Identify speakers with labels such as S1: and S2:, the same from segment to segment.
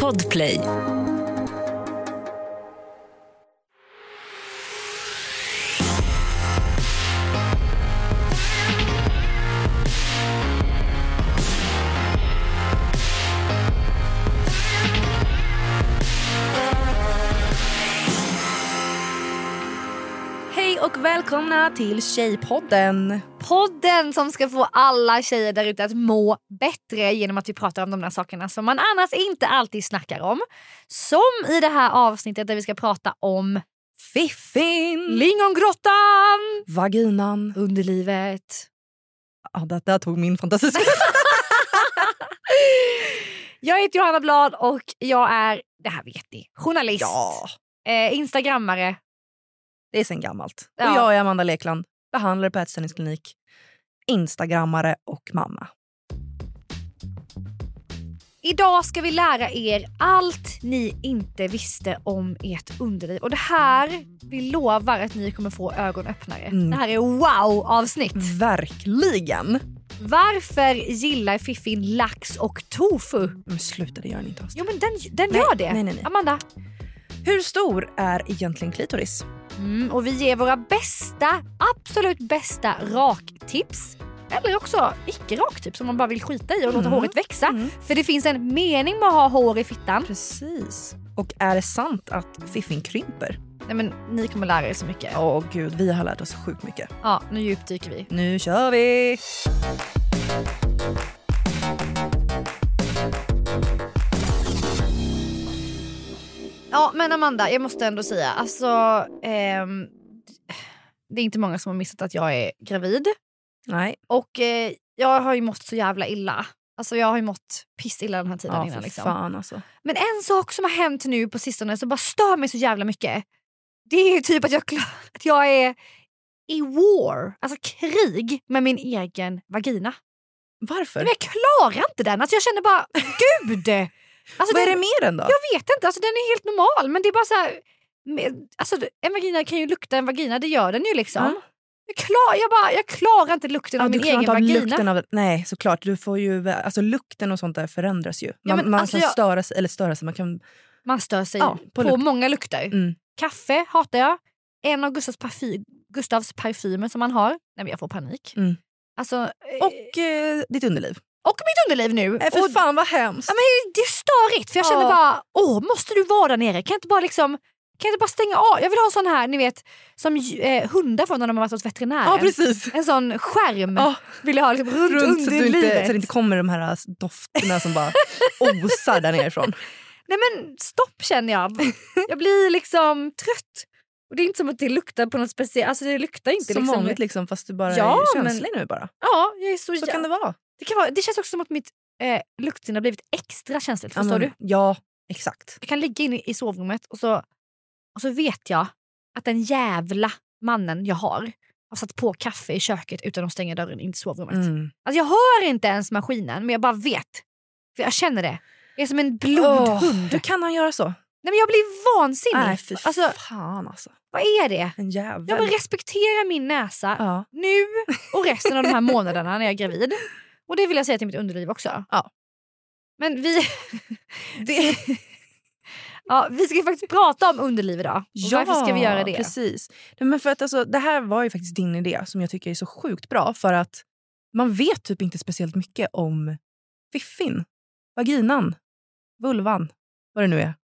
S1: Podplay.
S2: Hej och välkomna till Tjejpodden.
S3: Podden som ska få alla tjejer där ute att må bättre genom att vi pratar om de där sakerna som man annars inte alltid snackar om. Som i det här avsnittet där vi ska prata om
S2: Fiffin!
S3: lingongrottan,
S2: Vaginan.
S3: underlivet.
S2: Ja, det där tog min fantasi.
S3: Jag heter Johanna Blad och jag är, det här vet ni, journalist,
S2: ja,
S3: eh, instagrammare.
S2: det är sen gammalt. Och
S3: Ja.
S2: jag är Amanda Lekland, behandlare på ätstörningsklinik, instagrammare och mamma.
S3: Idag ska vi lära er allt ni inte visste om ert underliv. Och det här, vi lovar att ni kommer få ögon öppnare.
S2: Mm.
S3: Det här är wow-avsnitt.
S2: Verkligen!
S3: Varför gillar Fiffin lax och tofu?
S2: Men sluta, det gör ni inte alls.
S3: Jo men den, den
S2: Nej,
S3: gör det.
S2: nej, nej, nej.
S3: Amanda.
S2: Hur stor är egentligen klitoris?
S3: Mm, och vi ger våra bästa, absolut bästa raktips. Eller också icke-raktips om man bara vill skita i och låta
S2: Mm.
S3: håret växa. För det finns en mening med att ha hår i fittan.
S2: Precis. Och är det sant att fiffin krymper?
S3: Nej men ni kommer lära er så mycket. Ja,
S2: Åh gud, vi har lärt oss sjukt mycket.
S3: nu djupdyker vi.
S2: Nu kör vi!
S3: Ja men Amanda, jag måste ändå säga alltså. ehm, det är inte många som har missat att jag är gravid.
S2: Nej,
S3: Och eh, jag har ju mått så jävla illa. Alltså jag har ju mått pissilla den här tiden
S2: ja,
S3: innan.
S2: för
S3: Liksom.
S2: fan alltså.
S3: Men en sak som har hänt nu på sistone som bara stör mig så jävla mycket. Det är ju typ att jag, kla- att jag är i war, alltså krig med min egen vagina.
S2: Varför?
S3: Men jag klarar inte den. Alltså jag känner bara, gud! Alltså
S2: Vad är
S3: den,
S2: det med den då?
S3: Jag vet inte, alltså den är helt normal. Men det är bara så här, med- alltså, en vagina kan ju lukta en vagina, det gör den ju liksom.
S2: Ja.
S3: Jag, klar, jag, bara, jag klarar inte lukten
S2: Ja,
S3: av
S2: du
S3: min
S2: klarar
S3: egen
S2: inte av
S3: vagina.
S2: lukten av Nej, såklart. Du får ju, alltså, lukten och sånt där förändras ju. Man,
S3: men
S2: man
S3: alltså
S2: kan
S3: jag-
S2: störa sig, eller störa sig, man kan...
S3: Man stör sig
S2: Ja, på
S3: på,
S2: lukt.
S3: många lukter.
S2: Mm.
S3: Kaffe hatar jag. En av Gustavs, parfy, Gustavs parfymer som han har. Nej, men jag får panik.
S2: Mm.
S3: Alltså, eh,
S2: Och eh, ditt underliv.
S3: och mitt underliv nu.
S2: Nej, för
S3: och
S2: fan vad hemskt.
S3: Ja, men det är störigt för jag känner
S2: Ja.
S3: bara, åh måste du vara där nere? Kan jag inte bara liksom kan jag inte bara stänga av? Jag vill ha sån här, ni vet, som ju- eh, hundar får när de har varit hos veterinären.
S2: ja, precis.
S3: en sån skärm
S2: Ja.
S3: vill jag ha liksom, runt,
S2: Runt, så, att du inte,
S3: underlivet.
S2: så det inte kommer de här alltså, dofterna som bara osar där nerifrån.
S3: Nej men stopp känner jag. Jag blir liksom trött. Och det är inte som att det luktar på något speciellt. Alltså det luktar inte
S2: Som
S3: liksom.
S2: vanligt liksom, fast du bara
S3: Ja,
S2: är
S3: men-
S2: känslig nu bara.
S3: Ja, jag är så,
S2: Så
S3: jä-
S2: kan det vara.
S3: Det, kan vara, det känns också som att mitt eh, luktsinne har blivit extra känsligt.
S2: Ja,
S3: Förstår
S2: men-
S3: du?
S2: Ja, exakt.
S3: Jag kan ligga inne i sovrummet och så, och så vet jag att den jävla mannen jag har har satt på kaffe i köket utan att stänga dörren in till sovrummet.
S2: Mm.
S3: Alltså jag hör inte ens maskinen men jag bara vet. För jag känner det. Jag är som en blodhund.
S2: Hur kan han göra så?
S3: Nej, men jag blir vansinnig.
S2: Nej, fy
S3: alltså,
S2: fan alltså.
S3: vad är det?
S2: En jävel.
S3: Jag bara respektera min näsa
S2: ja.
S3: nu och resten av de här månaderna när jag är gravid. Och det vill jag säga till mitt underliv också.
S2: Ja.
S3: Men vi... ja, vi ska ju faktiskt prata om underliv idag. Och varför ska vi göra det?
S2: Precis. Nej, Men för att, alltså, det här var ju faktiskt din idé som jag tycker är så sjukt bra för att man vet typ inte speciellt mycket om fiffin, vaginan, vulvan, vad det nu är.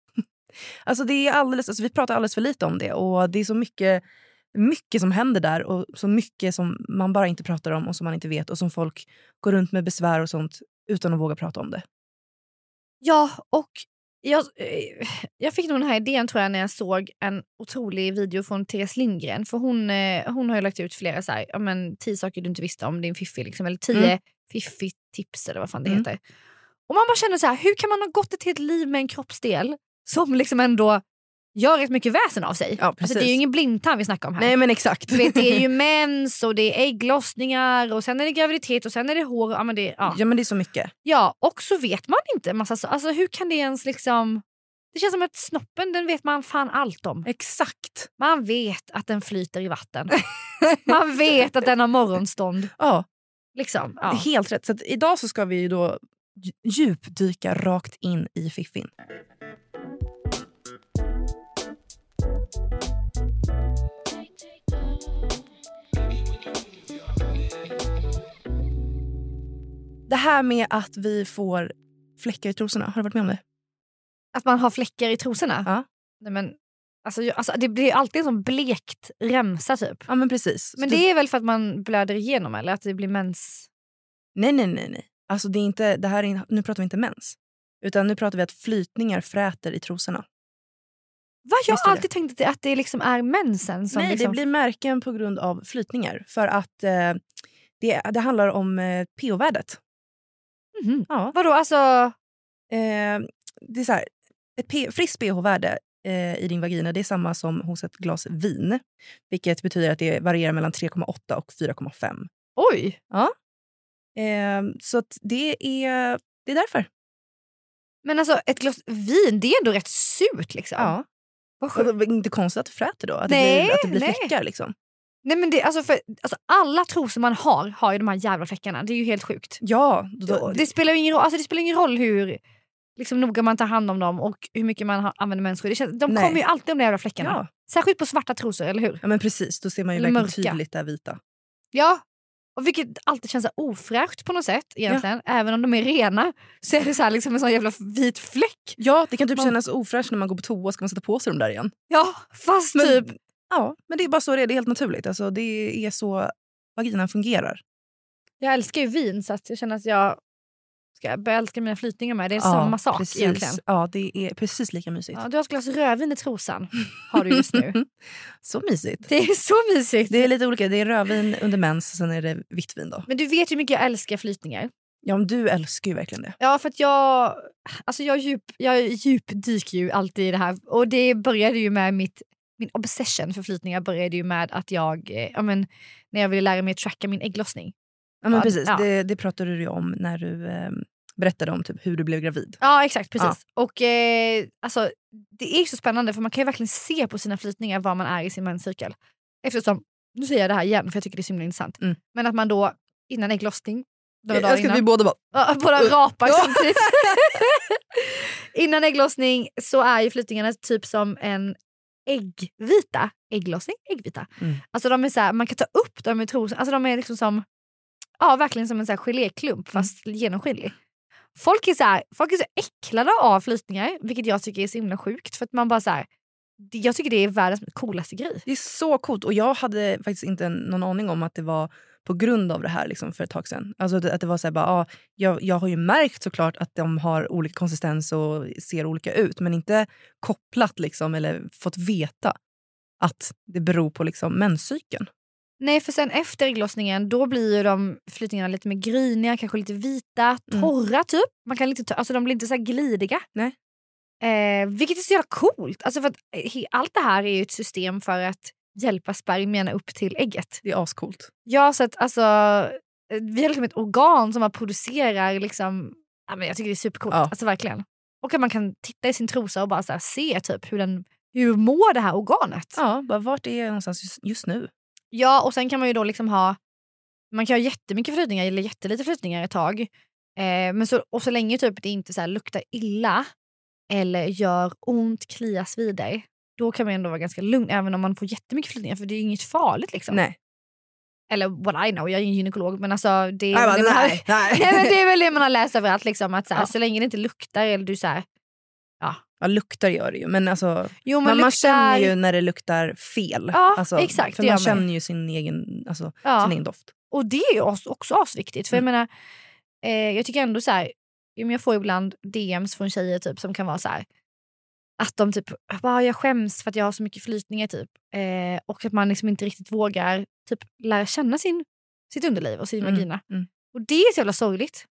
S2: Alltså, det är alldeles, alltså, vi pratar alldeles för lite om det och det är så mycket, mycket som händer där och så mycket som man bara inte pratar om och som man inte vet och som folk går runt med besvär och sånt utan att våga prata om det.
S3: Ja, och jag, eh, jag fick nog den här idén tror jag när jag såg en otrolig video från Therese Lindgren. För hon, eh, hon har ju lagt ut flera så här, ja, men, tio saker du inte visste om din fiffi. Liksom, eller tio
S2: Mm.
S3: fiffi-tips eller vad fan det
S2: Mm.
S3: heter. Och man bara känner så här, hur kan man ha gått ett helt liv med en kroppsdel som liksom ändå gör rätt mycket väsen av sig?
S2: Ja,
S3: Alltså, det är ju ingen blindtarm vi snackar om här.
S2: Nej men exakt.
S3: Du vet, det är ju mens och det är ägglossningar och sen är det graviditet och sen är det hår. Ja, men det, ja.
S2: ja men det är så mycket.
S3: Ja, och så vet man inte en massa så- Alltså hur kan det ens liksom... Det känns som att snoppen den vet man fan allt om.
S2: Exakt.
S3: Man vet att den flyter i vatten. Man vet att den har morgonstånd.
S2: Ja.
S3: Liksom. Ja.
S2: Helt rätt. Så att idag så ska vi ju då dj- djupdyka rakt in i fiffin. Det här med att vi får fläckar i trosorna, har du varit med om det?
S3: Att man har fläckar i trosorna?
S2: Ja.
S3: Nej, men, alltså, jag, alltså, det blir alltid en sån blekt remsa typ.
S2: Ja, men precis.
S3: Men
S2: Så
S3: det är väl för att man blöder igenom eller att det blir mens?
S2: Nej, nej, nej. nej. Alltså, det är inte, det här är, in- nu pratar vi inte mens. Utan nu pratar vi att flytningar fräter i trosorna.
S3: Va? Jag
S2: Visst är
S3: har
S2: det.
S3: alltid tänkt att det, att det liksom är mensen som
S2: nej,
S3: liksom...
S2: det blir märken på grund av flytningar. För att eh, det, det handlar om eh, pH-värdet.
S3: Mhm.
S2: Ja.
S3: Vadå alltså?
S2: Eh, det är så här, ett P- friskt pH-värde eh, i din vagina det är samma som hos ett glas vin. Vilket betyder att det varierar mellan 3,8 och 4,5.
S3: Oj!
S2: Eh, så att det, är, det är därför.
S3: Men alltså ett glas vin det är ändå rätt surt liksom.
S2: Ja.
S3: Vad
S2: Och
S3: sjukt.
S2: det är inte konstigt att det fräter då. Att det
S3: Nej,
S2: blir, att det blir
S3: nej.
S2: fläckar liksom.
S3: Nej, men det, alltså, för, alltså, alla trosor man har har ju de här jävla fläckarna. Det är ju helt sjukt.
S2: Ja, då, då,
S3: det, spelar ju ingen, roll- alltså, det spelar ingen roll hur liksom, noga man tar hand om dem och hur mycket man har, använder mensskydd. Det känns, de
S2: Nej.
S3: kommer ju alltid de där jävla fläckarna.
S2: ja.
S3: Särskilt på svarta trosor, eller hur?
S2: ja, men precis. Då ser man ju
S3: Eller
S2: verkligen
S3: mörka.
S2: tydligt det här vita.
S3: Ja. Och vilket alltid känns så här ofräscht på något sätt egentligen. Även om de är rena så är det så här, liksom en sån jävla vit fläck.
S2: Ja, det kan typ
S3: Man-
S2: kännas ofräscht när man går på toa ska man sätta på sig dem där igen.
S3: Ja, fast
S2: Men,
S3: typ.
S2: Ja, men det är bara så det är. Det är helt naturligt. Alltså, det är så vaginan fungerar.
S3: Jag älskar ju vin så att jag känner att jag ska börja älska mina flytningar med. Det är
S2: Ja,
S3: samma sak
S2: precis.
S3: egentligen.
S2: Ja, det är precis lika mysigt.
S3: Ja, du har ett glas rödvin i trosan. Har du just nu.
S2: så mysigt.
S3: Det är så mysigt.
S2: Det är lite olika. Det är rödvin under mens, sen är det vitt vin. Då.
S3: Men du vet ju hur mycket jag älskar flytningar.
S2: Ja, men du älskar ju verkligen det.
S3: Ja, för att jag, alltså jag, djup, jag djupdyker ju alltid i det här. Och det började ju med mitt, min obsession för flytningar började ju med att jag, eh, ja, men, när jag ville lära mig att tracka min ägglossning.
S2: Ja, men
S3: Ja,
S2: precis.
S3: ja.
S2: Det, det pratade du ju om när du ehm, berättade om typ, hur du blev gravid.
S3: Ja, exakt. precis. Och eh, alltså, Det är ju så spännande för man kan ju verkligen se på sina flytningar var man är i sin menscykel. Eftersom, nu säger jag det här igen för jag tycker det är så himla intressant.
S2: Mm.
S3: Men att man då innan ägglossning, några dagar
S2: jag ska
S3: innan,
S2: vi båda bara...
S3: Ja, Båda
S2: Uh,
S3: rapar
S2: ja.
S3: samtidigt. Innan ägglossning så är ju flytningarna typ som en äggvita. Ägglossning, äggvita.
S2: Mm.
S3: Alltså de är så här, man kan ta upp dem i trosan. Alltså de är liksom som, ja verkligen som en så här
S2: Mm.
S3: geléklump fast genomskinlig. Folk är, så här, folk är så äcklade av flytningar vilket jag tycker är så himla sjukt. För att man bara så här, det- jag tycker det är världens coolaste grej.
S2: Det är så coolt. Och jag hade faktiskt inte någon aning om att det var på grund av det här liksom, för ett tag sedan. Alltså, det- att det var så här, bara, ah, jag, jag har ju märkt såklart att de har olika konsistens och ser olika ut men inte kopplat liksom, eller fått veta att det beror på liksom, menscykeln.
S3: Nej, för sen efter ägglossningen då blir ju de flytningarna lite mer gryniga, kanske lite vita,
S2: Mm.
S3: torra typ. Man kan lite, ta- alltså, de blir inte så här glidiga.
S2: Nej.
S3: Eh, vilket är så jävla coolt. Alltså, för att, he, allt det här är ju ett system för att hjälpa spermierna upp till ägget.
S2: Det är ascoolt.
S3: Ja, så att alltså, eh, vi har liksom ett organ som man producerar liksom, ja, men jag tycker det är supercoolt.
S2: Ja.
S3: Alltså verkligen. Och att man kan titta i sin trosa och bara så här, se typ hur den hur mår det här organet.
S2: Ja, bara, vart är jag någonstans just, just nu?
S3: Ja, och sen kan man ju då liksom ha man kan ha jättemycket flytningar eller jättelite flytningar ett tag. Eh, men så, och så länge typ det inte så här luktar illa eller gör ont, klias vid dig, då kan man ändå vara ganska lugn även om man får jättemycket flytningar för det är ju inget farligt. liksom.
S2: Nej.
S3: Eller what I know, jag är ingen gynekolog men alltså det är,
S2: Jag bara,
S3: det, man har,
S2: nej, nej.
S3: nej, men det är väl det man har läst överallt. Liksom, att så, här,
S2: Ja.
S3: så länge det inte luktar eller du så här,
S2: Ja, luktar gör det ju. Men, alltså,
S3: jo, men
S2: man, man
S3: luktar,
S2: känner ju när det luktar fel.
S3: Ja,
S2: alltså,
S3: exakt,
S2: För
S3: det
S2: man
S3: gör man ju.
S2: känner ju sin egen, alltså,
S3: ja.
S2: sin egen doft.
S3: Och det är ju as- också asviktigt. För jag
S2: Mm.
S3: menar, eh, jag tycker ändå så här, ja, men jag får ibland DMs från tjejer typ, som kan vara så här att de typ, bara, jag skäms för att jag har så mycket flytningar typ. Eh, och att man liksom inte riktigt vågar typ lära känna sin, sitt underliv och sin
S2: Mm,
S3: vagina.
S2: mm.
S3: Och det är så jävla sorgligt.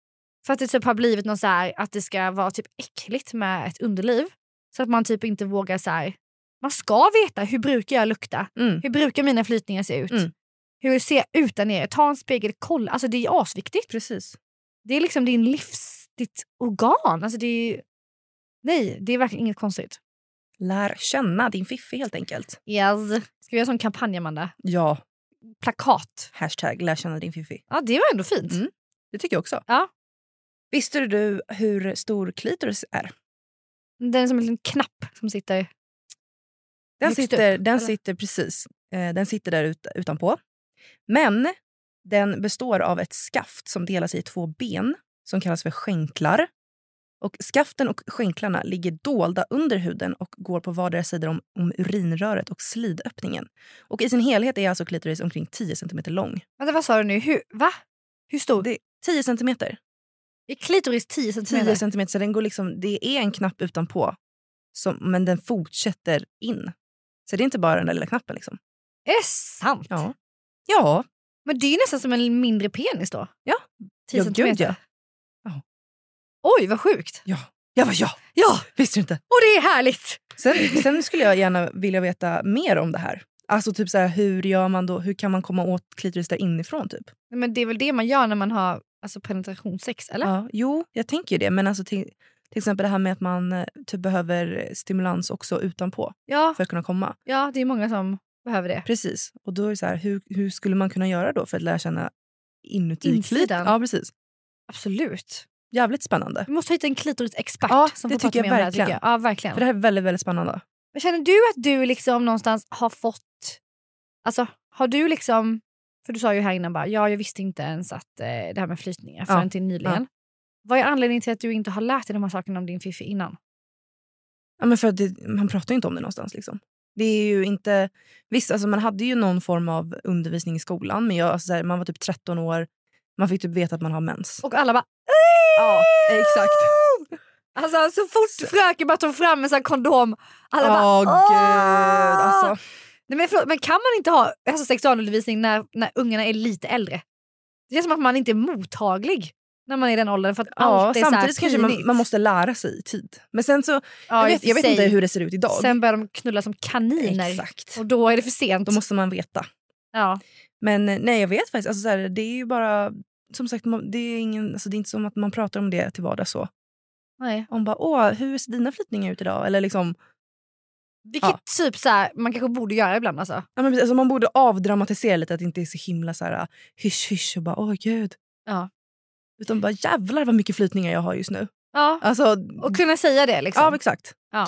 S3: För att det typ har blivit någon så här, att det ska vara typ äckligt med ett underliv. Så att man typ inte vågar så här, man ska veta hur brukar jag lukta?
S2: Mm.
S3: Hur brukar mina flytningar se ut?
S2: Mm.
S3: Hur ser jag ut där nere? Ta en spegel, kolla. Alltså det är asviktigt.
S2: Precis.
S3: Det är liksom din livs, ditt organ. Alltså det är, nej, det är verkligen inget konstigt.
S2: Lär känna din fiffi helt enkelt.
S3: Yes. Ska vi göra en sån kampanj, Amanda?
S2: Ja,
S3: Plakat.
S2: hashtag lär känna din fiffi.
S3: Ja, det var ändå fint.
S2: Mm. Det tycker jag också.
S3: Ja.
S2: Visste du hur stor klitoris är?
S3: Den är som en liten knapp som sitter...
S2: Den,
S3: Högst
S2: sitter, den
S3: eller?
S2: sitter precis. Eh, den sitter där ut, utanpå. Men den består av ett skaft som delar sig i två ben som kallas för skänklar. Och skaften och skänklarna ligger dolda under huden och går på vardera sidor om, om urinröret och slidöppningen. Och I sin helhet är alltså klitoris omkring 10 cm lång.
S3: Vänta, vad sa du nu? Hur, va? Hur stor?
S2: Det- 10 centimeter.
S3: Är klitoris 10
S2: 10
S3: centimeter?
S2: cm, så den går liksom, det är en knapp utanpå, som, men den fortsätter in. Så det är inte bara den där lilla knappen. Liksom.
S3: Är det sant?
S2: Ja. Ja.
S3: Men det är ju nästan som en mindre penis då.
S2: Ja.
S3: 10
S2: Ja, gud,
S3: centimeter.
S2: ja. Ja.
S3: Oj, vad sjukt.
S2: Jag bara, ja,
S3: Ja,
S2: visste du inte?
S3: och det är härligt.
S2: Sen, sen skulle jag gärna vilja veta mer om det här. Alltså typ så här, hur gör man då? Hur kan man komma åt klitoris där inifrån? Typ?
S3: Nej, Men det är väl det man gör när man har alltså, penetrationssex, eller?
S2: Ja, jo, jag tänker ju det. Men alltså till, till exempel det här med att man eh, typ behöver stimulans också utanpå
S3: Ja,
S2: för att kunna komma.
S3: ja, det är många som behöver det.
S2: Precis. Och då är det så här, hur, hur skulle man kunna göra då för att lära känna inuti
S3: Insidan.
S2: klitoris? Ja, precis.
S3: Absolut.
S2: Jävligt spännande.
S3: Vi måste hitta en klitorisexpert
S2: Ja,
S3: som
S2: det
S3: får prata
S2: tycker jag
S3: mer om det här.
S2: verkligen.
S3: Tycker jag. Ja, verkligen.
S2: För det här är väldigt, väldigt spännande.
S3: Men Känner du att du liksom någonstans har fått... Alltså, har du liksom... För du sa ju här innan bara, ja, jag visste inte ens att eh, det här med flytningar förrän
S2: Ja,
S3: till nyligen. Vad är anledningen till att du inte har lärt dig de här sakerna om din fiffi innan?
S2: Ja, men för att det, man pratar ju inte om det någonstans. Liksom. Det är ju inte... Visst, alltså man hade ju någon form av undervisning i skolan, men jag, alltså så här, man var typ 13 år. Man fick typ veta att man har mens.
S3: Och alla bara...
S2: Ja, exakt.
S3: Alltså så fort fröken bara tog fram en sån här kondom, alla bara...
S2: Åh,
S3: "Åh!"
S2: gud. Alltså,
S3: Nej, men, förlåt, men kan man inte ha alltså, sexualundervisning när, när ungarna är lite äldre? Det känns som att man inte är mottaglig när man är i den åldern. För att
S2: ja,
S3: allt är så här
S2: samtidigt kanske man,
S3: pinigt.
S2: man måste lära sig i tid. Men sen så,
S3: Ja,
S2: jag,
S3: i och
S2: vet, jag
S3: för
S2: vet inte
S3: sig.
S2: hur det ser ut idag.
S3: Sen börjar de knulla som kaniner.
S2: Exakt.
S3: Och då är det för sent.
S2: Då måste man veta.
S3: ja.
S2: Men eh, nej, jag vet faktiskt. Alltså, så här, det är ju bara... Som sagt, man- det är, ingen, alltså, det är inte som att man pratar om det till vardags så.
S3: Nej.
S2: Om bara, åh, hur ser dina flyttningar ut idag? Eller liksom,
S3: Vilket
S2: Ja.
S3: typ så här, man kanske borde göra ibland. Alltså.
S2: ja, men precis, alltså man borde avdramatisera lite, att det inte är så himla så här, eh, hysch hysch och bara, åh gud.
S3: Ja.
S2: Utan bara, jävlar vad mycket flyttningar jag har just nu.
S3: Ja.
S2: Alltså,
S3: Och kunna säga det. Liksom.
S2: ja, exakt.
S3: Ja.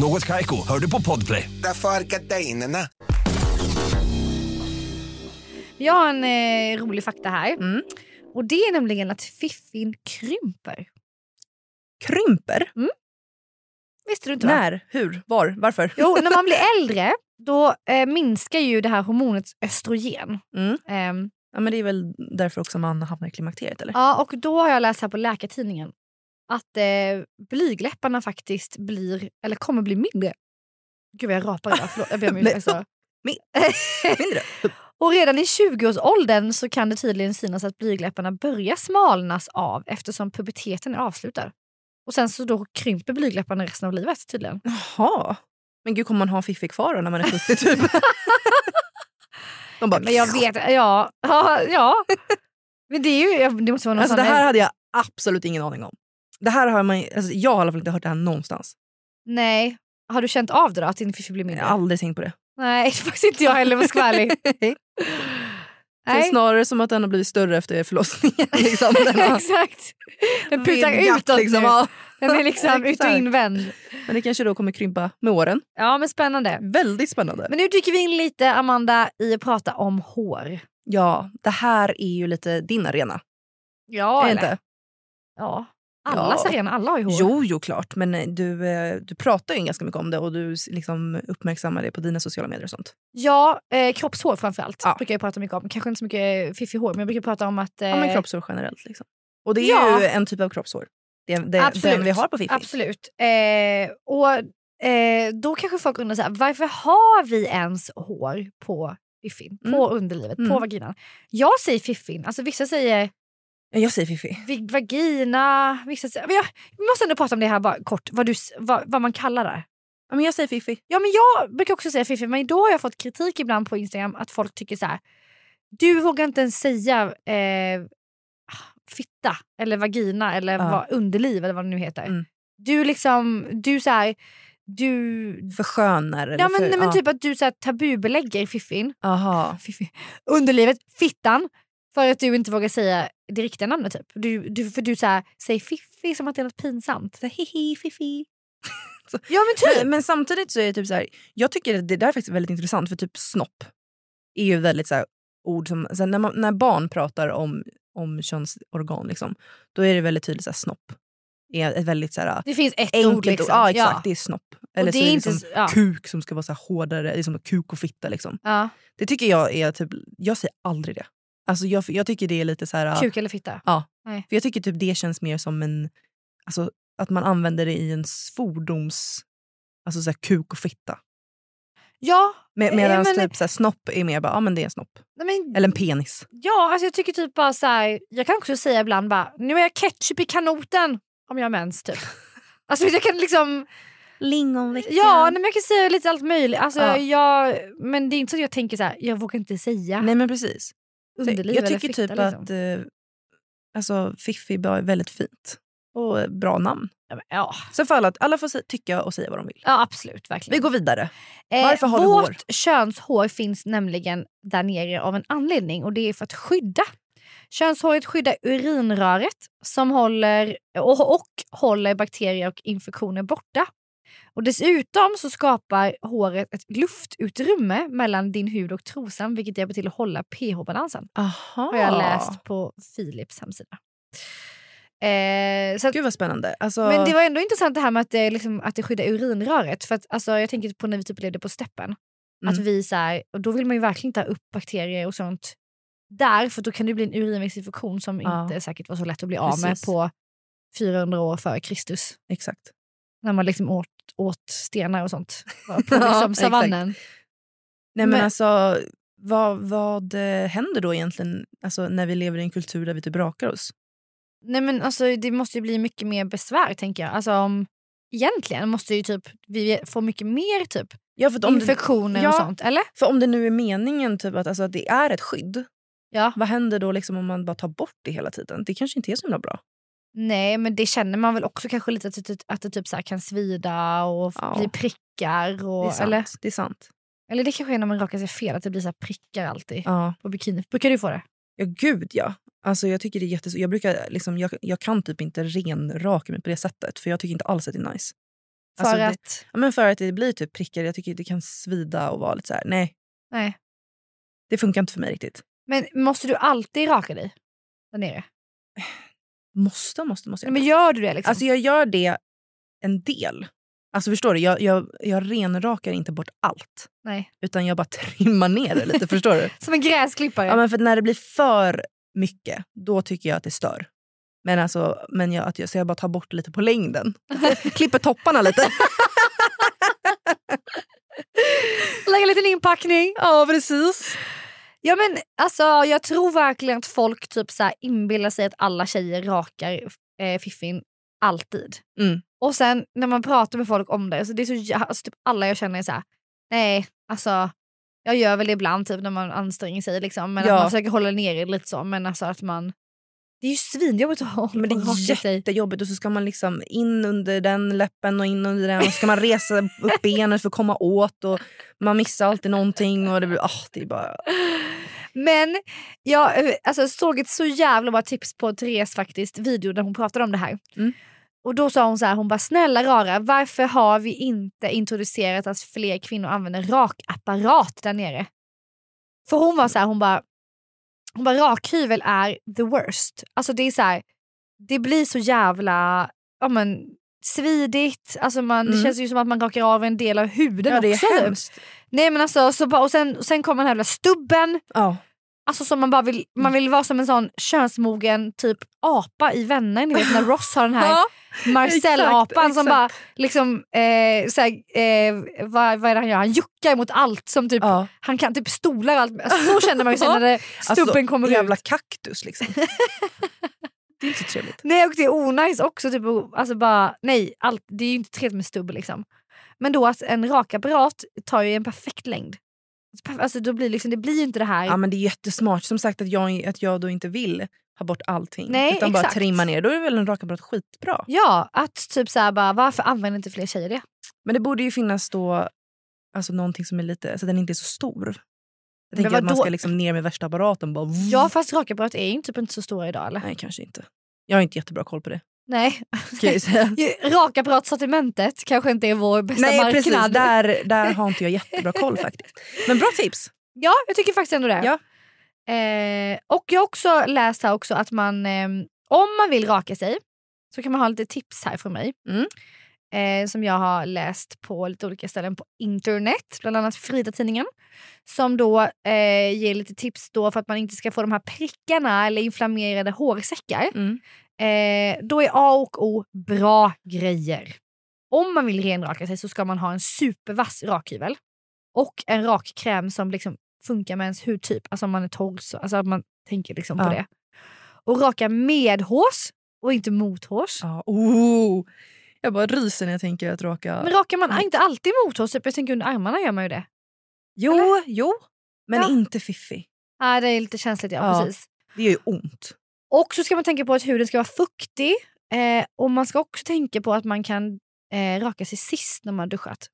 S4: Något Kaiko, hör du på Podplay.
S5: Därför arkadeinerna.
S3: Jag har en eh, rolig fakta här.
S2: Mm.
S3: Och Det är nämligen att fiffin krymper.
S2: Krymper?
S3: Visste du inte? va?
S2: När? Hur? Var? Varför?
S3: Jo, när man blir äldre då eh, minskar ju det här hormonet östrogen.
S2: Mm.
S3: Ehm,
S2: Ja, men det är väl därför också man hamnar i klimakteriet, eller?
S3: Ja, och då har jag läst här på Läkartidningen att eh, blygläpparna faktiskt blir, eller kommer bli mindre. Gud vad jag rapar idag, förlåt. Jag ber om
S2: Men-
S3: ursäkt. alltså.
S2: Min- Mindre?
S3: Och redan i 20-årsåldern så kan det tydligen synas att blygläpparna börjar smalnas av eftersom puberteten är avslutad. Och sen så då krymper blygläpparna resten av livet tydligen.
S2: Jaha. Men gud, kommer man ha en fiffi kvar då när man är 70 typ? De bara,
S3: Men jag vet, ja. Ja. ja. Men det, är ju, ja, det måste vara någon
S2: Alltså, det
S3: sån-
S2: här hade jag absolut ingen aning om. Det här har man, alltså, jag har i alla fall inte hört det här någonstans.
S3: Nej. Har du känt av det då, att din fiffi blir
S2: Jag
S3: mindre?
S2: har aldrig tänkt på det.
S3: Nej, faktiskt inte jag heller om jag ska vara ärlig.
S2: Det är
S3: Nej.
S2: snarare som att den har blivit större efter förlossningen. Liksom. Den har
S3: Exakt. Den putar
S2: vidgat,
S3: utåt
S2: liksom.
S3: nu.
S2: Ja.
S3: Den är liksom ut och
S2: Exakt.
S3: invänd.
S2: Men det kanske då kommer krympa med åren.
S3: Ja, men spännande.
S2: Väldigt spännande.
S3: Men nu dyker vi in lite, Amanda, i att prata om hår.
S2: ja, det här är ju lite din arena.
S3: Ja,
S2: är det inte?
S3: Ja. Alla
S2: Ja.
S3: sargarna, alla har ju hår.
S2: Jo, jo, klart. Men eh, du, eh, du pratar ju ganska mycket om det och du s- liksom uppmärksammar det på dina sociala medier och sånt.
S3: Ja, eh, kroppshår framförallt
S2: Ja.
S3: brukar jag prata mycket om. Kanske inte så mycket eh, fiffig hår men jag brukar prata om att... Eh,
S2: Ja, men kroppshår generellt. Liksom. Och det är
S3: Ja.
S2: ju en typ av kroppshår. Det, det,
S3: Absolut.
S2: den vi har på Fifi.
S3: Absolut. Eh, och eh, då kanske folk undrar så här, varför har vi ens hår på fiffin? På underlivet, på
S2: Mm.
S3: vaginan. Jag säger fiffin, alltså vissa säger
S2: Ja, Jag säger Fifi.
S3: vi- vagina, vissa säger... Men jag, vi måste ändå prata om det här bara kort, vad, du, s- vad, vad man kallar det.
S2: Ja, men jag säger Fifi.
S3: Ja, men jag brukar också säga fiffin, men då har jag fått kritik ibland på Instagram att folk tycker så här. Du vågar inte ens säga eh, fitta eller vagina eller
S2: Ja.
S3: vad, underliv eller vad det nu heter.
S2: Mm.
S3: Du liksom, du så här, du...
S2: För skönar. eller
S3: Ja, men,
S2: för,
S3: nej, men
S2: ja.
S3: typ att du så här, tabubelägger fiffin,
S2: Aha.
S3: fiffin, underlivet, fittan. För att du inte vågar säga det riktiga namnet typ. Du, du, för du så här, säger fiffi som att det är något pinsamt. Så här, hihi, fiffi. ja men typ.
S2: Men, men samtidigt så är det typ så här, jag tycker att det där är faktiskt väldigt intressant för typ snopp är ju väldigt så här, ord som, så här, när, man, när barn pratar om, om könsorgan liksom, då är det väldigt tydligt så här, snopp. Är ett väldigt så här,
S3: Det finns ett
S2: enkelt
S3: ord liksom.
S2: Ja exakt, det
S3: Ja.
S2: är snopp. Eller
S3: och det
S2: så
S3: är
S2: är
S3: inte,
S2: det liksom
S3: ja.
S2: kuk som ska vara så här, hårdare, liksom, kuk och fitta liksom.
S3: Ja.
S2: Det tycker jag är typ, jag säger aldrig det. Alltså jag, jag tycker det är lite så här...
S3: Kuk eller fitta?
S2: För jag tycker typ det känns mer som en... Alltså, att man använder det i en fordoms... Alltså så här, kuk och fitta.
S3: Ja,
S2: Med,
S3: Eh,
S2: Medan
S3: men-
S2: typ så här, snopp är mer bara, ja men det är en snopp.
S3: nej men,
S2: Eller en penis.
S3: ja alltså jag tycker typ bara så här, jag kan också säga ibland bara, nu är jag ketchup i kanoten om jag har mens typ. Alltså jag kan liksom,
S2: Lingonveckan.
S3: ja nej, men jag kan säga lite allt möjligt. Alltså,
S2: Ja.
S3: jag, men det är inte så att jag tänker så här, jag vågar inte säga
S2: Nej men precis. Så
S3: underliv
S2: jag
S3: eller
S2: tycker
S3: fitta.
S2: typ
S3: liksom.
S2: att eh, alltså, Fiffi bara är väldigt fint. Och eh, bra namn.
S3: ja, men, ja.
S2: Så för alla, att alla får se, tycka och säga vad de vill.
S3: ja absolut verkligen.
S2: Vi går vidare. Varför har du
S3: Eh, vårt
S2: hår?
S3: könshår finns nämligen där nere av en anledning och det är för att skydda. Könshåret skyddar urinröret som håller, och, och håller bakterier och infektioner borta. Och dessutom så skapar håret ett luftutrymme mellan din hud och trosan vilket hjälper till att hålla pH-balansen.
S2: Aha.
S3: Har jag läst på Philips hemsida. Eh, så att,
S2: Gud vad spännande. Alltså,
S3: men det var ändå intressant det här med att det, liksom, att det skyddar urinröret. För att, alltså, jag tänker på när vi typ levde på steppen.
S2: Mm.
S3: Att vi så här, och då vill man ju verkligen inte ha upp bakterier och sånt där. För då kan det bli en urinvägsinfektion som
S2: Ja.
S3: inte säkert var så lätt att bli av med
S2: Precis.
S3: på 400 år före Kristus.
S2: Exakt.
S3: När man liksom åt, åt stenar och sånt. På
S2: Ja,
S3: liksom
S2: exakt.
S3: savannen.
S2: Nej men,
S3: Men-
S2: alltså, vad, vad eh, händer då egentligen alltså, när vi lever i en kultur där vi typ rakar oss?
S3: Nej men alltså det måste ju bli mycket mer besvär tänker jag. Alltså om, egentligen måste ju typ vi få mycket mer typ
S2: Ja, för, att om det,
S3: infektioner och
S2: ja.
S3: sånt. Eller?
S2: för om det nu är meningen typ, att, alltså, att det är ett skydd,
S3: Ja.
S2: vad händer då liksom, om man bara tar bort det hela tiden? Det kanske inte är så himla bra.
S3: Nej, men det känner man väl också kanske lite att det, att det typ så här kan svida och f-
S2: Ja.
S3: bli prickar.
S2: Det är
S3: Och,
S2: sant.
S3: eller,
S2: Det är sant.
S3: eller det kanske är när man rakar sig fel, att det blir så här prickar alltid
S2: Ja.
S3: på bikini. Brukar du få det?
S2: ja, gud ja. Alltså, jag tycker det är jättes- jag, brukar, liksom, jag, jag kan typ inte renraka mig på det sättet för jag tycker inte alls att det är nice.
S3: För
S2: Alltså, det-
S3: att...
S2: Ja, men för att det blir typ prickar, jag tycker det kan svida och vara lite så här. nej
S3: Nej.
S2: det funkar inte för mig riktigt.
S3: Men måste du alltid raka dig där nere?
S2: Måste, måste, måste.
S3: Nej, men gör du det liksom?
S2: Alltså jag gör det en del. Alltså förstår du, jag, jag, jag renrakar inte bort allt.
S3: Nej.
S2: Utan jag bara trimmar ner det lite, förstår du?
S3: Som en gräsklippare?
S2: Ja, men för när det blir för mycket, då tycker jag att det stör. Men alltså, men jag, att jag, så jag bara tar bort lite på längden. Klipper topparna lite.
S3: Lägga en liten inpackning.
S2: ja, precis.
S3: Ja, men, alltså, jag tror verkligen att folk typ så här inbillar sig att alla tjejer rakar eh, fiffin alltid.
S2: Mm.
S3: Och sen när man pratar med folk om det, så det är så, jä- alltså, typ alla jag känner är så här, nej alltså jag gör väl det ibland typ, när man anstränger sig liksom, men
S2: Ja.
S3: att man försöker hålla ner det lite så. Men alltså att man, det är ju svinjobbigt att hålla
S2: Men det
S3: och raka
S2: är
S3: sig.
S2: jättejobbigt och så ska man liksom in under den läppen och in under den och så ska man resa upp benet för att komma åt och man missar alltid någonting och det blir, ah det är bara...
S3: Men jag eh, alltså, såg ett så jävla bra tips på Therese faktiskt, video där hon pratade om det här.
S2: Mm.
S3: Och då sa hon så här, hon bara snälla rara, varför har vi inte introducerat att fler kvinnor använder rakapparat där nere? För hon var så här, hon bara, hon bara rakhyvel är the worst. Alltså det är så här, det blir så jävla ja, men, svidigt. Alltså man, Det
S2: Mm.
S3: känns ju som att man rakar av en del av huden
S2: Ja, det
S3: också. typ.
S2: är hemskt.
S3: Nej, men alltså, så bara, och sen, och sen kommer den här jävla stubben.
S2: Ja.
S3: Alltså som man, bara vill,
S2: Mm.
S3: man vill vara som en sån könsmogen typ apa i Vänner. Ni vet när Ross har den här Marcel-apan
S2: Exakt, exakt.
S3: som bara liksom, eh, såhär, eh, vad, vad är det han gör? Han juckar emot allt. Som typ,
S2: Ja.
S3: Han kan typ stolar och allt. Alltså, så känner man ju sen när det- stubben kommer ut.
S2: Alltså, jävla kaktus liksom. det är inte så trevligt.
S3: Nej och det är onajs också. Typ, och- alltså bara, nej, allt, det är ju inte trevligt med stubb liksom. Men då att en rakapparat tar ju en perfekt längd. Alltså, då blir liksom, det blir ju inte det här.
S2: Ja, men det är jättesmart. Som sagt att jag, att jag då inte vill ha bort allting.
S3: Nej,
S2: utan bara
S3: exakt.
S2: trimma ner. Då är väl en rakapparat skitbra.
S3: Ja, att typ såhär bara, varför använder inte fler tjejer det?
S2: Men det borde ju finnas då alltså någonting som är lite, så den inte är så stor. Jag
S3: Men
S2: tänker att man
S3: vadå?
S2: ska liksom ner med värsta apparaten. Bara,
S3: Ja fast rakapparat är ju typ inte så stora idag eller?
S2: Nej, kanske inte. Jag har inte jättebra koll på det.
S3: Nej.
S2: Kan jag ju säga.
S3: Ju- Rakapparatsortimentet kanske inte är vår bästa
S2: Nej
S3: marknad.
S2: precis, där, där har inte jag jättebra koll faktiskt. Men bra tips!
S3: Ja, jag tycker faktiskt ändå det.
S2: Ja.
S3: Eh, och jag har också läst här också att man, ehm, om man vill raka sig så kan man ha lite tips här från mig.
S2: Mm.
S3: Eh, som jag har läst på lite olika ställen på internet, bland annat Frida-tidningen. Som då eh, ger lite tips då för att man inte ska få de här prickarna eller inflammerade hårsäckar.
S2: Mm.
S3: Eh, då är A och O bra grejer. Om man vill renraka sig så ska man ha en supervass rakhyvel och en rakkräm som liksom funkar med ens hudtyp. Alltså om man är torr, så, alltså att man tänker liksom på
S2: Ja.
S3: det. Och raka medhårs och inte mothårs.
S2: Ja, oh. Jag bara ryser när jag tänker att raka...
S3: Men rakar man
S2: Mm.
S3: inte alltid mothårs? Typ, jag tänker under armarna gör man ju det.
S2: jo, jo, men
S3: Ja.
S2: inte fiffi.
S3: Ah, det är lite känsligt, ja,
S2: Ja.
S3: precis.
S2: Det gör ju ont.
S3: Och så ska man tänka på att huden ska vara fuktig. Eh, och man ska också tänka på att man kan eh, raka sig sist när man har duschat.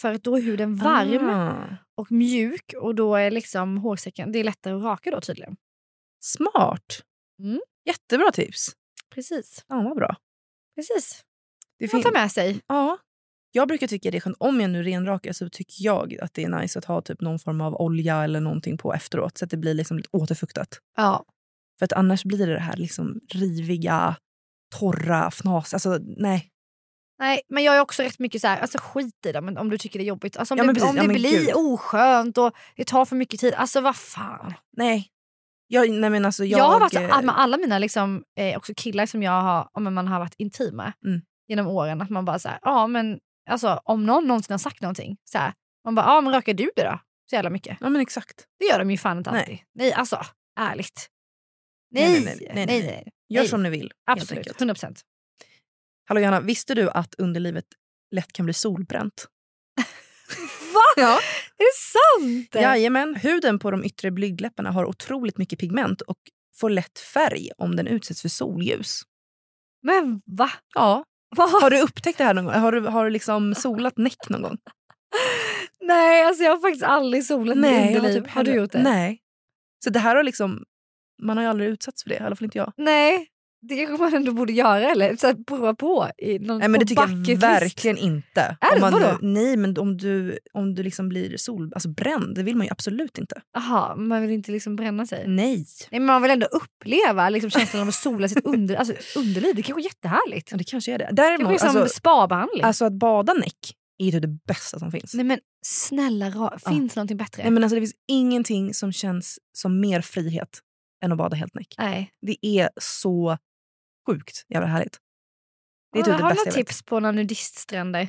S3: För att då är huden varm
S2: Ah,
S3: och mjuk och då är liksom hårsäcken det är lättare att raka då tydligen.
S2: smart!
S3: Mm.
S2: Jättebra tips.
S3: Precis.
S2: Fan vad bra.
S3: Precis.
S2: Det
S3: Det man
S2: fin-
S3: tar med sig.
S2: ja. Jag brukar tycka det är skönt, om jag nu renrakar så tycker jag att det är nice att ha typ någon form av olja eller någonting på efteråt så att det blir liksom lite återfuktat.
S3: Ja.
S2: För att annars blir det det här liksom riviga, torra, fnas. Alltså nej.
S3: Nej, men jag är också rätt mycket så här, alltså skit i det men om du tycker det är jobbigt. Alltså om
S2: Ja,
S3: det,
S2: men precis.
S3: om
S2: Ja,
S3: det
S2: men
S3: blir
S2: gud.
S3: oskönt och det tar för mycket tid, alltså vad fan.
S2: Nej. Jag, nej men alltså
S3: Jag,
S2: jag...
S3: har varit så- "Ah,
S2: eh,
S3: med alla mina liksom, eh, också killar som jag har, om man har varit intim med
S2: Mm.
S3: genom åren, att man bara så här, ja men alltså om någon någonsin har sagt någonting, så här, man bara, ja men röker du det då? Så jävla mycket.
S2: Ja men exakt.
S3: Det gör de ju fan inte
S2: Nej.
S3: alltid. Nej, alltså ärligt.
S2: Nej,
S3: Nej,
S2: nej, nej, nej, nej.
S3: nej.
S2: Gör
S3: Nej.
S2: som ni vill. helt
S3: Absolut,
S2: enkelt.
S3: 100 procent.
S2: Hallå Johanna, visste du att underlivet lätt kan bli solbränt?
S3: Va? Ja. Är det sant?
S2: Jajamän. Huden på de yttre blygdläpparna har otroligt mycket pigment och får lätt färg om den utsätts för solljus.
S3: Men va?
S2: Ja.
S3: Vad?
S2: Har du upptäckt det här någon gång? Har du, har du liksom solat näck någon gång?
S3: Nej, alltså jag har faktiskt aldrig solat mitt
S2: Nej, jag
S3: underliv.
S2: typ
S3: har du
S2: heller-
S3: gjort det?
S2: Nej. Så det här har liksom... Man har ju aldrig utsatts för det, i alla fall inte jag.
S3: Nej. Det kanske man ändå borde göra eller så här, prova på. I någon,
S2: Nej men
S3: på
S2: det tycker
S3: bucket
S2: jag
S3: list.
S2: verkligen inte.
S3: Är det?
S2: om man,
S3: Vadå?
S2: nu- nej men om du, om du liksom blir sol, alltså bränd, det vill man ju absolut inte.
S3: Jaha, man vill inte liksom bränna sig.
S2: Nej.
S3: Nej, men man vill ändå uppleva liksom, känslan av att sola sitt under, alltså, underliv. Det kanske är jättehärligt.
S2: Ja, det kanske är det.
S3: Det kanske
S2: Däremot,
S3: är som
S2: alltså,
S3: spabehandling.
S2: Alltså att bada näck är ju typ det bästa som finns.
S3: Nej men snälla, ra-
S2: Ja.
S3: finns någonting bättre?
S2: Nej, men alltså, det finns ingenting som känns som mer frihet än att bada helt näck.
S3: Nej.
S2: Det är så sjukt jävla härligt. Det är typ
S3: har
S2: det bästa
S3: du några
S2: jag vet.
S3: tips på några nudiststränder?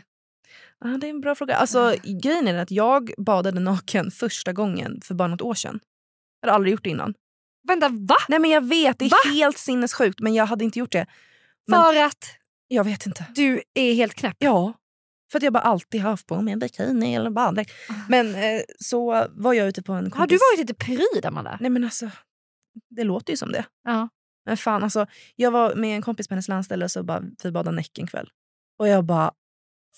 S2: Ah, det är en bra fråga. Alltså, grejen är den att jag badade naken första gången för bara något år sedan. Jag hade aldrig gjort det innan.
S3: Vänta, va?
S2: Nej men jag vet, det är
S3: Va?
S2: helt sinnessjukt men jag hade inte gjort det. Men-
S3: För att
S2: Jag vet inte.
S3: du är helt knäpp?
S2: Ja. För att jag bara alltid haft på mig en bikini eller baddräkt. Men eh, så var jag ute på en kompis...
S3: Har du varit lite pryd, Amanda?
S2: Nej men alltså, det låter ju som det.
S3: Ja.
S2: Men fan alltså, jag var med en kompis på hennes landställe och så bara, vi badade näck en kväll. Och jag bara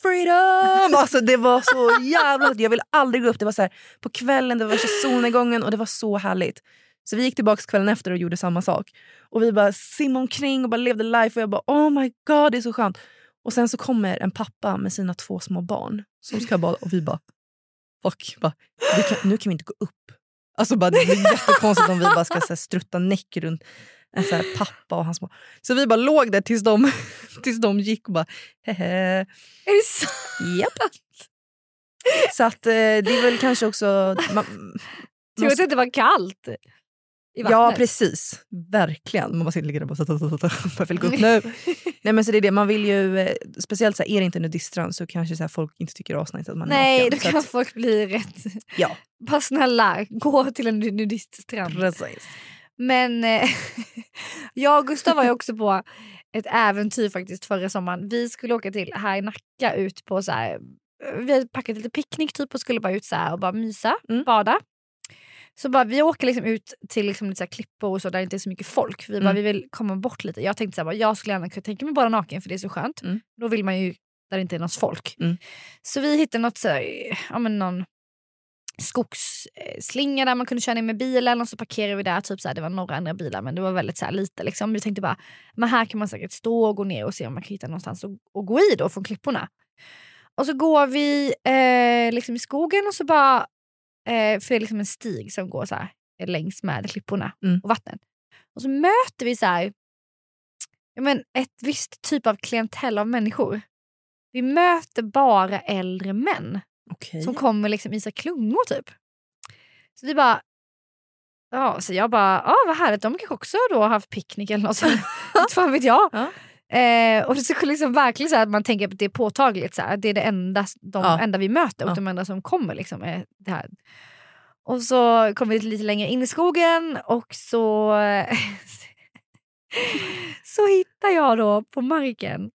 S2: freedom! Alltså det var så jävla... Jag vill aldrig gå upp. Det var så här, på kvällen, det var värsta solnedgången och det var så härligt. Så vi gick tillbaka kvällen efter och gjorde samma sak. Och vi bara simmade omkring och bara levde life och jag bara oh my god det är så skönt. Och sen så kommer en pappa med sina två små barn som ska bada och vi bara fuck, bara, vi kan, nu kan vi inte gå upp. Alltså bara, det blir jättekonstigt om vi bara ska så här, strutta näck runt En så här pappa och hans barn. Så vi bara låg där tills de, tills de gick och bara hehe.
S3: Är det så?
S2: Japp. Så att eh, det är väl kanske också... Man,
S3: Tur att det inte var kallt i vattnet.
S2: Ja, precis. Verkligen. Man bara sitter och ligger där och bara... Varför gå upp nu? Nej, men så det är det. Man vill ju, eh, speciellt så här, är det inte nudiststrand så kanske så här, folk inte tycker det är asnice att man är
S3: Nej, då
S2: naken. Så
S3: kan
S2: att,
S3: folk bli rätt...
S2: Ja.
S3: Bara snälla, gå till en nudiststrand.
S2: precis.
S3: Men eh, jag och Gustav var ju också på ett äventyr faktiskt förra sommaren. Vi skulle åka till här i Nacka ut på så här, vi hade packat lite picknick typ och skulle bara ut så här och bara mysa,
S2: Mm.
S3: bada. Så bara, vi åker liksom ut till liksom lite så här klippor och så där det inte är så mycket folk. Vi bara,
S2: Mm.
S3: vi vill komma bort lite. Jag tänkte så här, bara, jag skulle gärna kunna tänka mig bara naken för det är så skönt.
S2: Mm.
S3: Då vill man ju där det inte är någons folk.
S2: Mm.
S3: Så vi hittade något så här, ja men någon skogsslinga där man kunde köra ner med bilen och så parkerade vi där. Typ så här, det var några andra bilar men det var väldigt så här lite. Liksom. Vi tänkte bara, men här kan man säkert stå och gå ner och se om man kan hitta någonstans att att gå i då från klipporna. Och så går vi eh, liksom i skogen och så bara, eh, för det är liksom en stig som går så här längs med klipporna
S2: Mm.
S3: och vattnet. Och så möter vi så här, ja, men ett visst typ av klientell av människor. Vi möter bara äldre män
S2: Okej.
S3: som kommer liksom i så här klungor typ. Så vi bara, ja, så jag bara, ja vad härligt, de kanske också då har haft picknick eller något sånt. Inte fan vet jag.
S2: Ja.
S3: Eh, och det skulle liksom verkligen så här att man tänker att det är påtagligt, så här, att det är det enda, de
S2: Ja.
S3: enda vi möter och
S2: Ja.
S3: de enda som kommer. Liksom, är det här. Och så kommer vi lite längre in i skogen och så, så hittar jag då på marken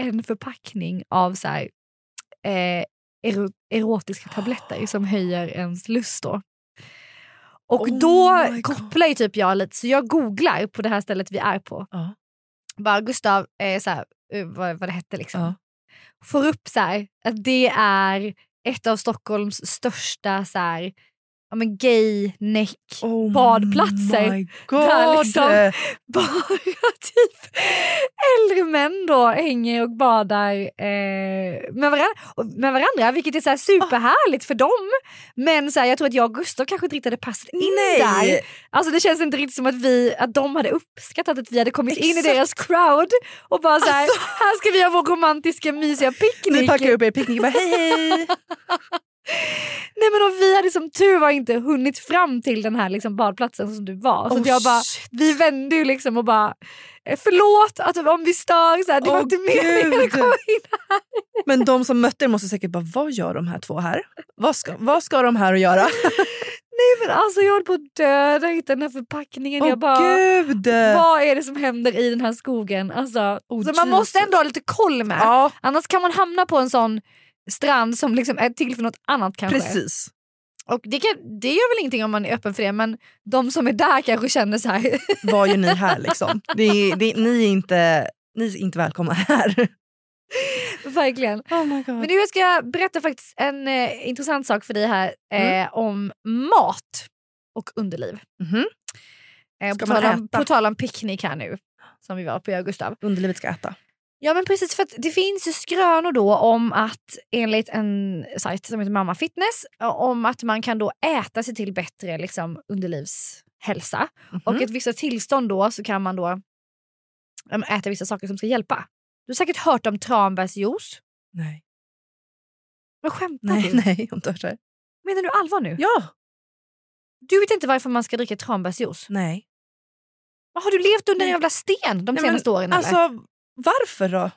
S3: en förpackning av så här, eh, ero, erotiska tabletter som höjer ens lust. Då. Och
S2: Oh
S3: då
S2: my God.
S3: kopplar ju typ jag lite, så jag googlar på det här stället vi är på.
S2: Ja.
S3: Bara Gustav, eh, så här, eh, vad, vad det hette liksom.
S2: Ja.
S3: Får upp så här, att det är ett av Stockholms största så här, ja, men gay neck
S2: Oh
S3: badplatser.
S2: my God.
S3: Där liksom. bara typ äldre män då hänger och badar eh, med, varandra, och- med varandra vilket är så här superhärligt för dem. Men så här, jag tror att jag och Gustav kanske inte riktigt hade passat in där.
S2: Nej!
S3: Alltså det känns inte riktigt som att, vi, att de hade uppskattat att vi hade kommit in i
S2: Exakt. Alltså.
S3: deras crowd och bara så här, här ska vi ha vår romantiska mysiga
S2: Ni
S3: picknick.
S2: packar upp er picknick och bara hej hej.
S3: Nej men och vi hade som tur var inte hunnit fram till den här liksom badplatsen som du var. Så
S2: Oh,
S3: att jag bara,
S2: shit.
S3: vi vände ju liksom och bara eh, förlåt att, om vi stör, så här, det var
S2: Åh,
S3: inte meningen att
S2: Gud.
S3: komma in.
S2: Men de som mötte er måste säkert bara, vad gör de här två här? Vad ska, vad ska de här att göra?
S3: Nej, men alltså, jag höll på att dö när jag hittade den här förpackningen.
S2: Åh
S3: jag bara,
S2: gud!
S3: vad är det som händer i den här skogen? Alltså,
S2: Oh,
S3: så man måste
S2: Jesus.
S3: ändå ha lite koll med.
S2: Ja,
S3: Annars kan man hamna på en sån strand som liksom är till för något annat kanske.
S2: precis.
S3: Och det, kan, det gör väl ingenting om man är öppen för det men de som är där kanske känner så här
S2: Vad gör ni här liksom? Det är, det, ni, är inte, ni är inte välkomna här.
S3: verkligen.
S2: Oh my God.
S3: Men nu ska jag berätta faktiskt en eh, intressant sak för dig här eh,
S2: Mm.
S3: om mat och underliv.
S2: Mhm.
S3: Eh,
S2: Ska
S3: på,
S2: man
S3: tal om,
S2: äta?
S3: på tal om picknick här nu, som vi var på jag och Gustav.
S2: Underlivet ska äta.
S3: Ja men precis, för att det finns ju skrönor då om att enligt en sajt som heter Mamma Fitness, eh, om att man kan då äta sig till bättre liksom, underlivshälsa.
S2: Mhm.
S3: Och att vissa tillstånd då så kan man då ja, men äta vissa saker som ska hjälpa. Du har säkert hört om tranbärsjuice.
S2: Nej,
S3: Men skämtar
S2: nej,
S3: du?
S2: nej. Jag har inte hört det här.
S3: Menar du allvar nu?
S2: Ja,
S3: Du vet inte varför man ska dricka tranbärsjuice?
S2: nej.
S3: Har du levt under en
S2: Nej.
S3: jävla sten de
S2: Nej,
S3: senaste åren eller?
S2: Alltså, varför då?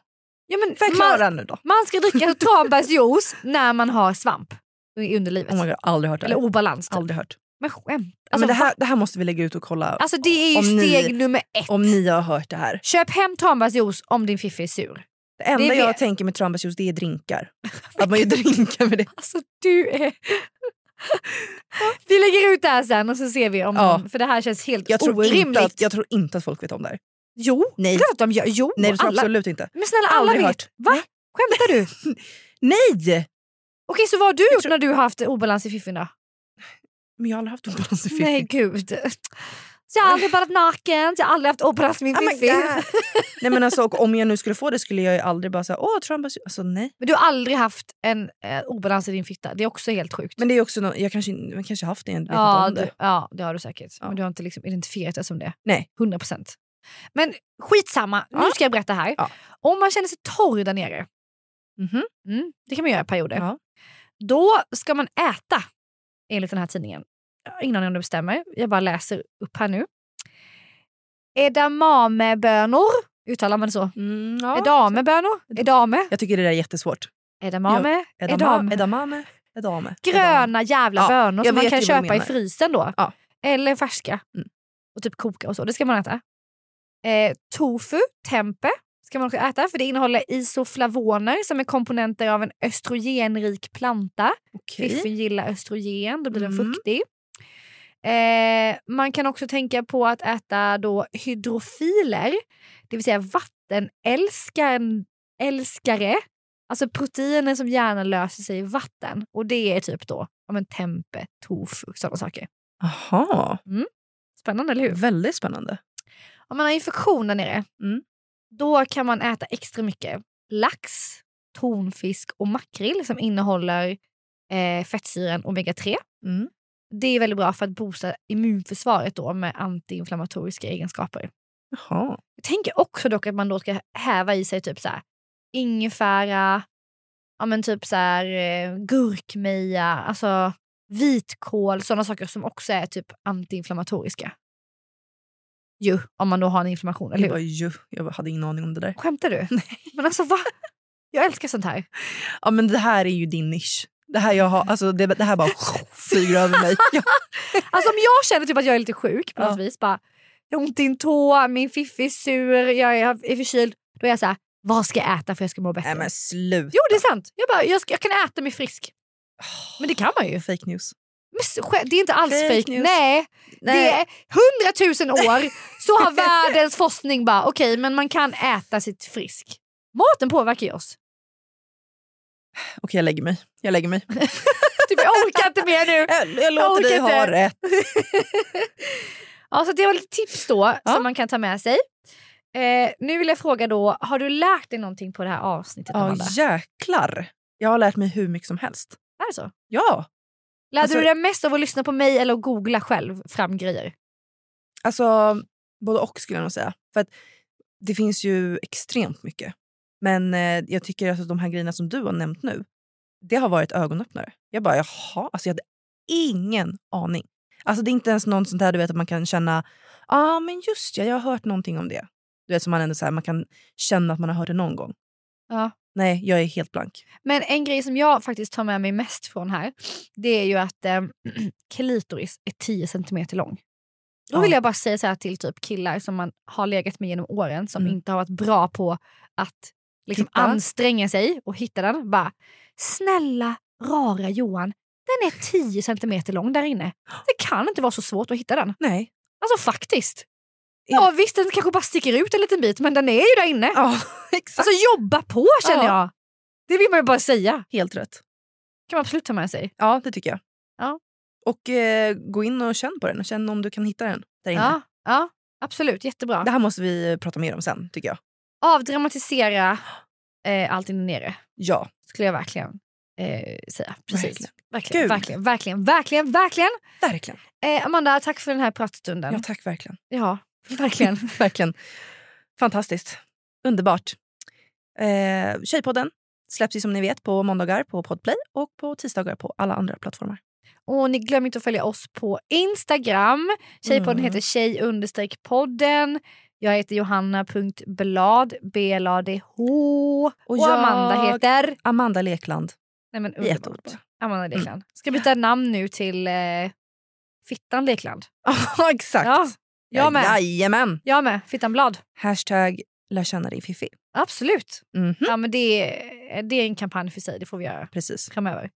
S3: Ja, men man,
S2: Förklara nu då.
S3: man ska dricka tranbärsjuice när man har svamp i underlivet.
S2: Oh my God, aldrig hört det.
S3: eller
S2: här.
S3: obalans. Typ.
S2: Aldrig hört.
S3: Men skämt.
S2: Men
S3: Alltså,
S2: det,
S3: va?
S2: här, det här måste vi lägga ut och kolla
S3: alltså det är ju
S2: om ni-
S3: steg nummer ett.
S2: om ni har hört det här.
S3: Köp hem tranbärsjuice om din fiffi är sur.
S2: Det enda
S3: Det är
S2: jag
S3: det.
S2: tänker med tranbärsjuice det är drinkar. Att man gör drinkar med det.
S3: Alltså du är... vi lägger ut det här sen och så ser vi om...
S2: Ja.
S3: För det här känns helt
S2: Jag tror,
S3: orimligt.
S2: inte att, jag tror inte att folk vet om det här.
S3: Jo,
S2: Nej.
S3: klart att de gör. Jo,
S2: Nej, det tror jag
S3: alla.
S2: absolut inte.
S3: Men snälla alla
S2: Aldrig
S3: vet.
S2: hört.
S3: Va?
S2: Nej.
S3: Skämtar du?
S2: Nej!
S3: Okej, så vad har du gjort när du har haft obalans i fiffin då?
S2: Men jag har aldrig haft obalans i fiffin.
S3: Nej, gud. Så jag har aldrig badat naken, så jag har aldrig haft operation min
S2: Oh my
S3: fiffi.
S2: God. Nej, men alltså, och om jag nu skulle få det skulle jag ju aldrig bara säga åh Trump är sy-" alltså, nej.
S3: Men du har aldrig haft en eh, obalans i din fitta. Det är också helt sjukt.
S2: Men det är ju också nå- jag kanske, jag kanske haft det, jag vet inte
S3: ja,
S2: om
S3: du,
S2: det.
S3: ja, det har du säkert.
S2: Ja.
S3: Men du har inte liksom identifierat dig som det.
S2: Nej.
S3: 100 procent. Men skitsamma, nu
S2: Ja.
S3: ska jag berätta här.
S2: Ja.
S3: Om man känner sig torr där nere,
S2: Mhm.
S3: mm, det kan man göra i perioder,
S2: Ja.
S3: då ska man äta enligt den här tidningen. Innan om det bestämmer, jag bara läser upp här nu. Edamamebönor, uttalar man det så?
S2: Mm, ja.
S3: Edamebönor? Edame?
S2: Jag tycker det där är jättesvårt.
S3: Edamame?
S2: Edamame.
S3: Edam.
S2: Edamame. Edame. edame.
S3: Gröna jävla
S2: Ja,
S3: bönor
S2: jag
S3: som man
S2: vet
S3: kan
S2: ju vad du
S3: köpa i
S2: menar.
S3: frysen då.
S2: Ja.
S3: Eller färska.
S2: Mm.
S3: Och typ koka och så. Det ska man äta. Eh, tofu, tempe ska man också äta för det innehåller isoflavoner som är komponenter av en östrogenrik planta.
S2: Okej.
S3: Fiffen gillar östrogen, då blir den
S2: Mm.
S3: fuktig. Eh, man kan också tänka på att äta då hydrofiler, det vill säga vattenälskaren- älskare. Alltså proteiner som gärna löser sig i vatten. Och det är typ då ja, men tempe, tofu, sådana saker.
S2: Jaha.
S3: Spännande, eller hur?
S2: Väldigt spännande.
S3: Om man har infektion där nere,
S2: Mm.
S3: då kan man äta extra mycket lax, tonfisk och makrill som innehåller eh, fettsyran omega-3.
S2: Mm.
S3: Det är väldigt bra för att boosta immunförsvaret då med antiinflammatoriska egenskaper.
S2: Jaha.
S3: Jag tänker också dock att man då ska häva i sig typ så här ingefära, ja men typ så här, eh, gurkmeja, alltså vitkål, sådana saker som också är typ antiinflammatoriska. Ju, om man då har en inflammation, eller
S2: Jag,
S3: hur?
S2: bara, ju, jag hade ingen aning om det där.
S3: Skämtar du? Men alltså va? Jag älskar sånt här.
S2: Ja, men det här är ju din nisch. Det här, jag har, alltså, det, det här bara flyger över mig. Ja.
S3: Alltså om jag känner typ att jag är lite sjuk på något
S2: Ja.
S3: vis, bara jag har ont i en tå, min fiffi är sur, jag är, är förkyld. Då är jag så här, vad ska jag äta för jag ska må bättre?
S2: Nej, men sluta.
S3: Jo det är sant, jag, bara, jag, ska, jag kan äta mig frisk. Men det kan man ju.
S2: Fake news.
S3: Men s- skä- det är inte alls
S2: Fake
S3: fake.
S2: news.
S3: Nej, det
S2: Nej.
S3: är hundratusen år så har världens forskning bara, okej men man kan äta sitt frisk. Maten påverkar ju oss.
S2: Okej, jag lägger mig. Jag lägger mig.
S3: Typ, jag orkar inte mer nu.
S2: Jag, jag låter
S3: orkar
S2: dig ha
S3: inte.
S2: rätt.
S3: Ja, så det var lite tips då som man kan ta med sig. Eh, nu vill jag fråga då, har du lärt dig någonting på det här avsnittet?
S2: Ja,
S3: Amanda?
S2: jäklar. Jag har lärt mig hur mycket som helst.
S3: Är det så?
S2: Ja,
S3: Lärde
S2: Alltså-
S3: du dig mest av att lyssna på mig eller att googla själv fram grejer?
S2: alltså både och skulle jag nog säga. För att det finns ju extremt mycket. Men eh, jag tycker att de här grejerna som du har nämnt nu, det har varit ögonöppnare. Jag bara jaha, alltså jag hade ingen aning. Alltså det är inte ens någon sånt här du vet att man kan känna, ja ah, men just ja, jag har hört någonting om det. Du vet som man ändå så här, man kan känna att man har hört det någon gång.
S3: Ja.
S2: Nej, jag är helt blank.
S3: Men en grej som jag faktiskt tar med mig mest från här, det är ju att eh, klitoris är 10 centimeter lång. Då
S2: Ja.
S3: vill jag bara säga så här till typ killar som man har legat med genom åren som
S2: Mm.
S3: inte har varit bra på att liksom
S2: Hitta.
S3: anstränga sig och hitta den. Bara, snälla rara Johan, den är 10 centimeter lång där inne. Det kan inte vara så svårt att hitta den.
S2: Nej.
S3: Alltså faktiskt. Ja visst, den kanske bara sticker ut en liten bit men den är ju där inne.
S2: Ja, exakt.
S3: Alltså jobba på känner
S2: Ja.
S3: jag. Det vill man ju bara säga.
S2: Helt rätt.
S3: kan man absolut ta med sig.
S2: Ja, det tycker jag.
S3: Ja.
S2: Och eh, gå in och känn på den och känn om du kan hitta den där inne.
S3: Ja, ja, absolut. Jättebra.
S2: Det här måste vi eh, prata mer om sen, tycker jag.
S3: Avdramatisera eh, allt inne nere,
S2: Ja.
S3: skulle jag verkligen eh, säga. Precis.
S2: Verkligen.
S3: Verkligen,
S2: Gud.
S3: verkligen, verkligen, verkligen. verkligen.
S2: Verkligen.
S3: Eh, Amanda, tack för den här pratstunden.
S2: Ja, tack. Verkligen.
S3: Ja, verkligen.
S2: verkligen. Fantastiskt. Underbart. Eh, Tjejpodden släpps ju som ni vet på måndagar på Podplay och på tisdagar på alla andra plattformar.
S3: Och ni glöm inte att följa oss på Instagram. Tjejpodden
S2: Mm.
S3: heter tjej understreck podden. Jag heter johanna.blad, B-L-A-D-H. Och,
S2: jag-
S3: Amanda heter?
S2: Amanda Lekland.
S3: Nej, men
S2: I ett
S3: underbart.
S2: ord.
S3: Amanda
S2: Mm.
S3: Lekland. Ska byta namn nu till eh, Fittan Lekland.
S2: Ja, exakt.
S3: Ja, jag med.
S2: Jajamän.
S3: Jag med. Fittan Blad.
S2: Hashtag lär känna din fiffi.
S3: Absolut.
S2: Mhm.
S3: Ja, men det, är- det är en kampanj för sig. Det får vi göra
S2: Precis.
S3: framöver.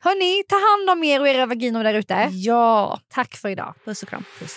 S3: Hörni, ta hand om er och era vaginor där ute.
S2: Ja.
S3: Tack för idag.
S2: Puss och kram. Puss.